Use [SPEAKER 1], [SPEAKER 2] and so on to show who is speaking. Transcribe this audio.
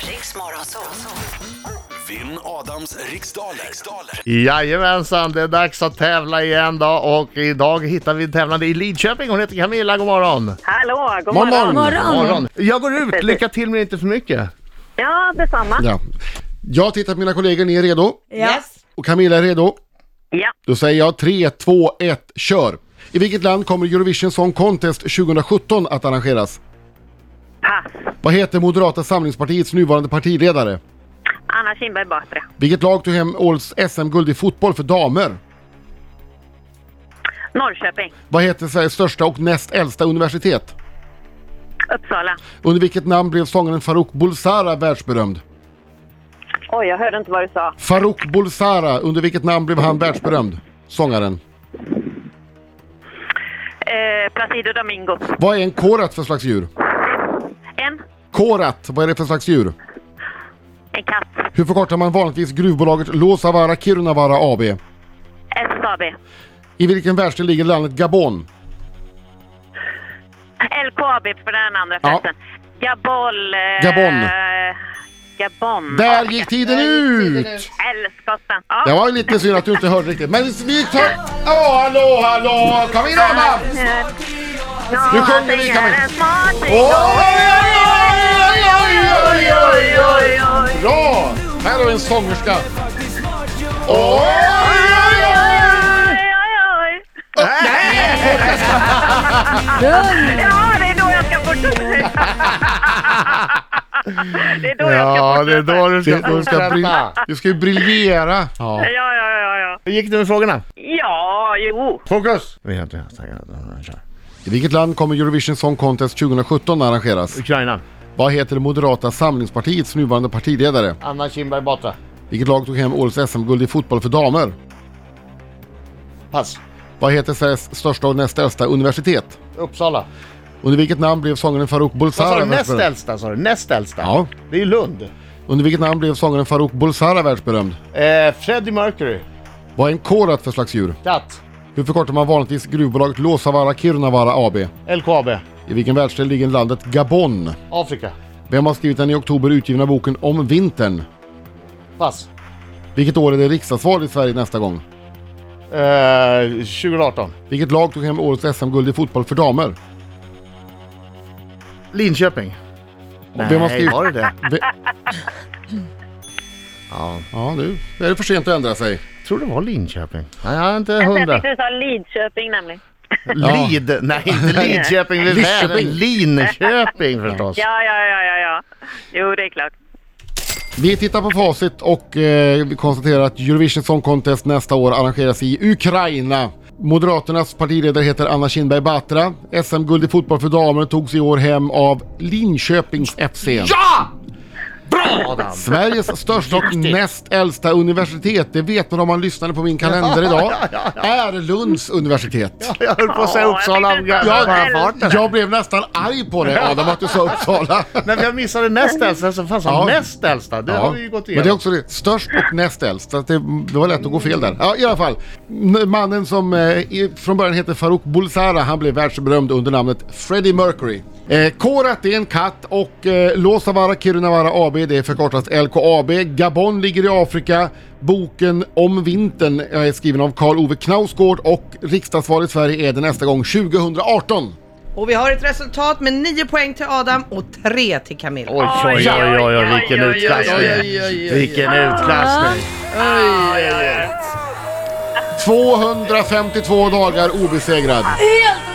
[SPEAKER 1] Riks Morgonzoo.
[SPEAKER 2] Vinn Adams riksdaler. riksdaler.
[SPEAKER 3] Jajamensan, det är dags att tävla igen då och idag hittar vi en tävlande i Lidköping. Hon heter Camilla, god morgon.
[SPEAKER 4] Hallå, god morgon.
[SPEAKER 3] morgon.
[SPEAKER 5] Morgon.
[SPEAKER 3] morgon. Jag går ut, lycka till men inte för mycket.
[SPEAKER 4] Ja, detsamma.
[SPEAKER 6] Ja. Jag tittar på mina kollegor, ni är redo?
[SPEAKER 5] Yes.
[SPEAKER 6] Och Camilla är redo?
[SPEAKER 4] Ja.
[SPEAKER 6] Då säger jag 3, 2, 1, kör! I vilket land kommer Eurovision Song Contest 2017 att arrangeras?
[SPEAKER 4] Pass.
[SPEAKER 6] Vad heter Moderata samlingspartiets nuvarande partiledare?
[SPEAKER 4] Anna Kinberg Batra.
[SPEAKER 6] Vilket lag tog hem årets SM-guld i fotboll för damer?
[SPEAKER 4] Norrköping.
[SPEAKER 6] Vad heter Sveriges största och näst äldsta universitet?
[SPEAKER 4] Uppsala.
[SPEAKER 6] Under vilket namn blev sångaren Farouk Bulsara världsberömd?
[SPEAKER 4] Oj, jag hörde inte vad du sa.
[SPEAKER 6] Farouk Bulsara, under vilket namn blev han världsberömd? Sångaren.
[SPEAKER 4] Eh, Placido Domingo.
[SPEAKER 6] Vad är en korat för slags djur?
[SPEAKER 4] En.
[SPEAKER 6] Korat, vad är det för slags djur?
[SPEAKER 4] En katt.
[SPEAKER 6] Hur förkortar man vanligtvis gruvbolaget Luossavaara Kirunavaara AB?
[SPEAKER 4] SSAB.
[SPEAKER 6] I vilken världsdel ligger landet Gabon?
[SPEAKER 4] LKAB för den andra förresten. Gabol. Eh,
[SPEAKER 6] Gabon.
[SPEAKER 4] Gabon.
[SPEAKER 6] Där gick tiden ut!
[SPEAKER 4] Älskotten. Ja.
[SPEAKER 6] Det var lite synd att du inte hörde riktigt, men vi tar... Åh, hallå, hallå! Kom in Adam! Nu sjunger vi, Camilla. Oj, oj, oj, oj, oj, oj, oj! Bra! Här har vi en sångerska. Oj, oj, oj!
[SPEAKER 4] Ja, det är då jag ska fortsätta. det är då jag ska
[SPEAKER 3] Ja,
[SPEAKER 4] fortsätta.
[SPEAKER 3] det är då du ska
[SPEAKER 6] Det- Du ska,
[SPEAKER 3] fortsätta.
[SPEAKER 6] bri- du ska ju briljera.
[SPEAKER 3] Ja.
[SPEAKER 4] Ja, ja, ja, ja.
[SPEAKER 3] Hur gick det med frågorna?
[SPEAKER 4] Ja, jo.
[SPEAKER 3] Fokus!
[SPEAKER 6] I vilket land kommer Eurovision Song Contest 2017 att arrangeras?
[SPEAKER 3] Ukraina.
[SPEAKER 6] Vad heter det Moderata samlingspartiets nuvarande partiledare?
[SPEAKER 3] Anna Kinberg Batra.
[SPEAKER 6] Vilket lag tog hem årets SM-guld i fotboll för damer?
[SPEAKER 3] Pass.
[SPEAKER 6] Vad heter Sveriges största och näst äldsta universitet?
[SPEAKER 3] Uppsala.
[SPEAKER 6] Under vilket namn blev sångaren Farouk
[SPEAKER 3] Vad sa du?
[SPEAKER 6] Bulsara
[SPEAKER 3] Näst
[SPEAKER 6] världsberömd?
[SPEAKER 3] äldsta sa du? Näst äldsta?
[SPEAKER 6] Ja.
[SPEAKER 3] Det är ju Lund.
[SPEAKER 6] Under vilket namn blev sångaren Farouk Bulsara världsberömd?
[SPEAKER 3] Eh, Freddie Mercury.
[SPEAKER 6] Vad är en korat för slags djur?
[SPEAKER 3] Katt.
[SPEAKER 6] Hur förkortar man vanligtvis gruvbolaget Luossavaara Kirunavaara AB?
[SPEAKER 3] LKAB.
[SPEAKER 6] I vilken världsdel ligger landet Gabon?
[SPEAKER 3] Afrika.
[SPEAKER 6] Vem har skrivit den i oktober utgivna boken Om vintern?
[SPEAKER 3] Pass.
[SPEAKER 6] Vilket år är det riksdagsval i Sverige nästa gång?
[SPEAKER 3] Eh, 2018.
[SPEAKER 6] Vilket lag tog hem årets SM-guld i fotboll för damer?
[SPEAKER 3] Linköping.
[SPEAKER 6] Och vem har skrivit-
[SPEAKER 3] var det det?
[SPEAKER 6] Ve-
[SPEAKER 3] Ja.
[SPEAKER 6] Ja, nu är det för sent att ändra sig.
[SPEAKER 3] Tror det var Linköping. Nej, jag är inte
[SPEAKER 4] Jag
[SPEAKER 3] hundra.
[SPEAKER 4] tyckte du sa Lidköping nämligen.
[SPEAKER 6] Ja.
[SPEAKER 3] Lid, nej inte Lidköping vid
[SPEAKER 6] Lidköping.
[SPEAKER 3] Vänern, Linköping förstås.
[SPEAKER 4] Ja, ja, ja, ja, ja. Jo, det är klart.
[SPEAKER 6] Vi tittar på facit och eh, vi konstaterar att Eurovision Song Contest nästa år arrangeras i Ukraina. Moderaternas partiledare heter Anna Kinberg Batra. SM-guld i fotboll för damer togs i år hem av Linköpings FC.
[SPEAKER 3] Ja! Bra Adam!
[SPEAKER 6] Sveriges största och näst äldsta universitet, det vet man om man lyssnade på min kalender idag, är Lunds universitet.
[SPEAKER 3] Jag höll på att säga
[SPEAKER 4] Ja,
[SPEAKER 3] Uppsala
[SPEAKER 4] jag
[SPEAKER 3] av
[SPEAKER 4] tyckte det
[SPEAKER 3] bara
[SPEAKER 4] var
[SPEAKER 3] farten.
[SPEAKER 6] Jag blev nästan arg på dig Adam att du sa Uppsala.
[SPEAKER 3] När jag missade näst äldsta så fanns han
[SPEAKER 6] Ja.
[SPEAKER 3] näst äldsta. Det har vi ju gått
[SPEAKER 6] Men det är
[SPEAKER 3] igenom.
[SPEAKER 6] också det, störst och näst äldst. Så att det, det var lätt att gå fel där. Ja, i alla fall. N- Mannen som eh, i, från början hette Farouk Bulsara, han blev världsberömd under namnet Freddie Mercury. Eh, Korat är en katt och eh, Luossavaara Kirunavaara AB, det förkortas LKAB. Gabon ligger i Afrika. Boken Om vintern eh, är skriven av Karl Ove Knausgård och riksdagsvalet i Sverige är det nästa gång 2018.
[SPEAKER 7] Och vi har ett resultat med 9 poäng till Adam och 3 till Camilla.
[SPEAKER 3] Oj, oj, oj, oj, oj, vilken
[SPEAKER 4] Oj, oj, oj,
[SPEAKER 3] utklassning. Vilken utklassning.
[SPEAKER 6] 252 dagar obesegrad.
[SPEAKER 5] Helt